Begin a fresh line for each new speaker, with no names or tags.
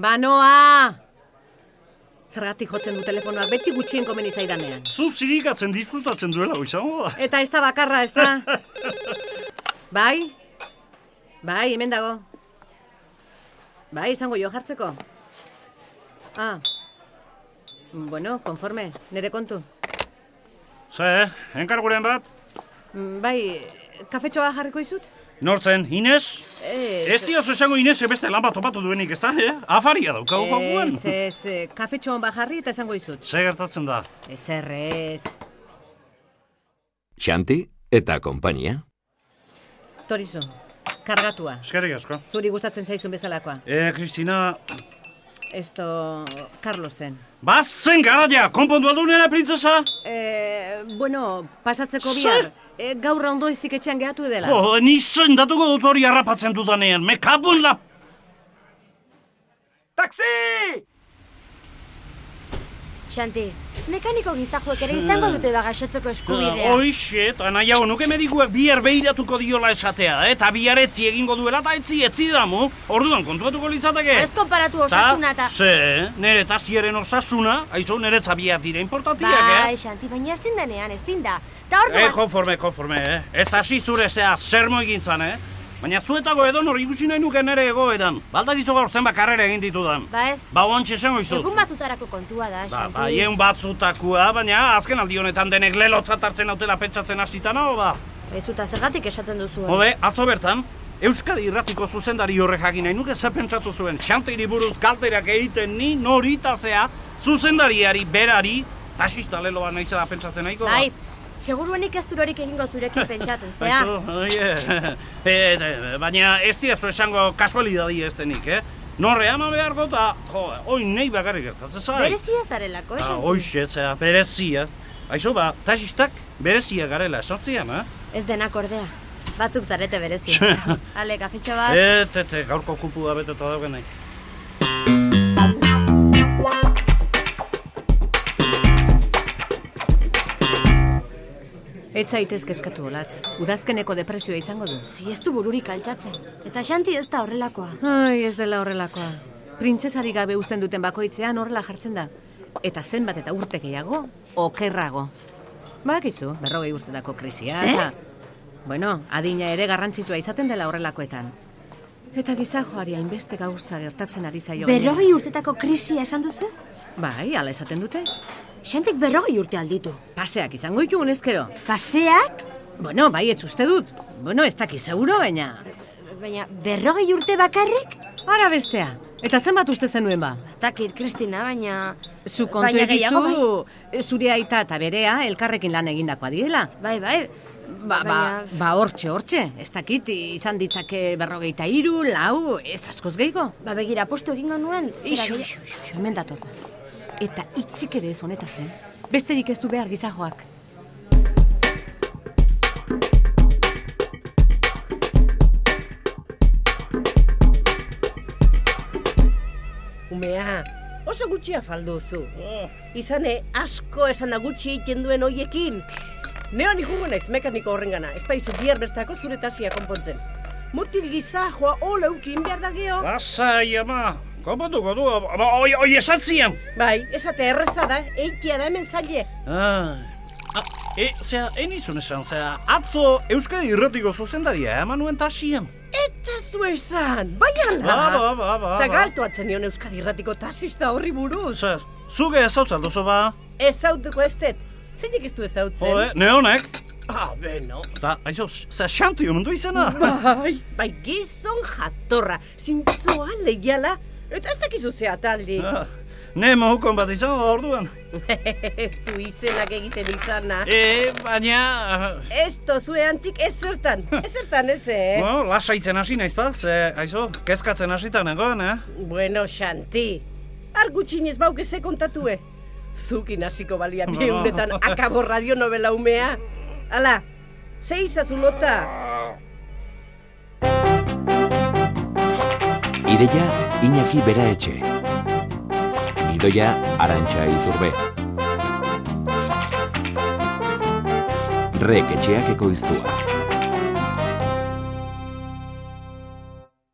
Banoa! Zergatik jotzen du telefonoak beti gutxien komeni zaidanean.
Zu zirikatzen disfrutatzen duela izango da.
Eta ez da bakarra, ez da? bai? Bai, hemen dago. Bai, izango jo jartzeko. Ah. Bueno, konforme, nire kontu.
Ze, enkarguren bat?
Mm, Bai, kafetxoa jarriko izut?
Nortzen, Ines?
Ez,
Ez diozu esango Ines beste lan bat topatu duenik, ez da, eh? Afaria daukagu gaguan.
ez, ez, eh, kafetxo hon bajarri eta esango izut.
Ze gertatzen da?
Ez errez.
Xanti eta konpainia.
Torizo, kargatua.
Eskerrik asko.
Zuri gustatzen zaizun bezalakoa.
E, Kristina,
Esto, Carlosen.
bazen garaia, konpondu aldunera, printzesa?
Eh, bueno, pasatzeko
Ze?
bihar. Eh, gaur ondo izik etxean gehatu dela.
Jo, ni zendatuko dut hori harrapatzen dudanean, me kabun la...
Taxi!
Xanti, mekaniko gizajuek ere izango dute bagasotzeko eskubidea.
Oixe, eta nahiago nuke medikuek bihar behiratuko diola esatea, eh? eta bihar etzi egingo duela eta etzi etzi damu, orduan kontuatuko litzateke.
Ez konparatu osasuna eta...
Ze, nire tasieren osasuna, aizu nire txabiak dira importatiak,
Bai,
eh?
Xanti, baina ezin denean, ezin da. Ta
Eh,
orduan,
konforme, konforme, eh? Ez hasi zure zea zermo egintzan, eh? Baina zuetako edo nori ikusi nahi nuke nire egoeran. Baldak izo gaur zenbak karrera egin ditudan.
ba ez,
Ba, ontsi esango izut.
egun batzutarako kontua da,
Ba,
Xanti.
ba, hien batzutakua, baina azken aldi honetan denek lelotzat hartzen autela pentsatzen hasitana, o ba?
Ez uta zergatik esaten duzu. hori.
Hode, atzo bertan, Euskadi irratiko zuzendari horrek jakin nahi nuke zer pentsatu zuen xanteiri buruz galderak egiten ni noritazea zuzendariari berari tasista leloa naizela pentsatzen nahiko.
Bai, seguruenik ez durorik egingo zurekin pentsatzen, zea.
Aizu, oie, e, e, e, baina ez diazu esango kasualidadi ez denik, eh? Norre ama beharko eta, jo, oin nahi bakarrik gertatzen zai.
Berezia zarelako,
bai. Ah,
Xanti.
Hoxe, zera, berezia. Aizu, ba, tasistak berezia garela sortzian, eh?
Ez denak ordea. Batzuk zarete berezia. Ale, kafetxo bat.
Et, et, et, Eh, gaurko kupua beteta daukenai.
Ez zaitez kezkatu olatz. Udazkeneko depresioa izango du.
Ai, Ez du bururik altxatzen. Eta Xanti ez da horrelakoa.
Bai,
Ai, ez dela horrelakoa. Printzesari gabe uzten duten bakoitzean horrela jartzen da. Eta zenbat eta urte gehiago, okerrago. Badakizu, berrogei urtetako krisia.
Zer?
eta- Bueno, adina ere garrantzitsua izaten dela horrelakoetan. Eta gizajoari hainbeste gauza gertatzen ari zaio. gainera.
Berrogei urtetako krisia esan duzu?
Bai, ala esaten dute.
Xantik berrogei urte alditu.
Paseak izango ditugun ezkero.
Paseak?
Bueno, bai, ez uste dut. Bueno, ez dakiz seguro, baina...
Baina berrogei urte bakarrik?
Ara bestea. Eta zenbat uste zenuen ba?
Ez dakit, Kristina, baina...
Zu kontu
Baina gehiago,
egizu, zure aita eta berea elkarrekin lan egindakoa direla.
Bai, bai.
Ba, ba,
Baina-
ba hortxe, hortxe, ez dakit izan ditzake berrogeita hiru, lau, ez askoz gehiago.
Ba, begira, postu egingo nuen... zera
Ixo,
gehi-
ixo, ixo, hemen dator. Eta itxik ere ez honetaz, eh? Besterik ez du behar gizajoak.
Umea, oso gutxi afalduzu. Izane, asko esan da gutxi egiten duen hoiekin. Neon ikungo naiz mekaniko horrengana, ez baizu bihar bertako zure tasia konpontzen. Mutil giza joa hola eukin behar da geho.
Lasai, ama, konpontuko du, ama, oi, oi esatzian.
Bai, esate erreza da, eikia da hemen zaile.
Ah, ah, e, zera, enizun esan, zera, atzo Euskadi irratiko zuzendaria eman nuen tasian.
Eta zu esan, bai ala.
Ba, ba, ba, ba,
Eta
ba.
galtu atzen nion Euskadi irratiko tasista horri buruz.
Zer, zuge ezautzen duzu ba?
Ez hautuko ez dut, zeinik ez du ez hautzen.
Hode, ne honek?
Ah, beno.
Eta, aizu, zera, xanti omen du izena.
Bai, bai gizon jatorra, zintzoa lehiala, eta ez dakizu zea taldi.
Ah, Ne mohukon bat izango da orduan.
ez du izenak egiten izana.
E, baina... eh.
Ez tozue antzik ez zertan, ez zertan ez, eh?
Bueno, lasaitzen hasi naiz ba, ze, aizu, kezkatzen hasitan egon, eh?
Bueno, Xanti, argutxin ez bauke ze kontatue. Zukin hasiko balia
Ba.
bieunetan akabo radionovela umea. Ala, ze izazu lota.
Ideia Iñaki Bera Etxe. Gidoia Arantxa Izurbe. Rek etxeak ekoiztua.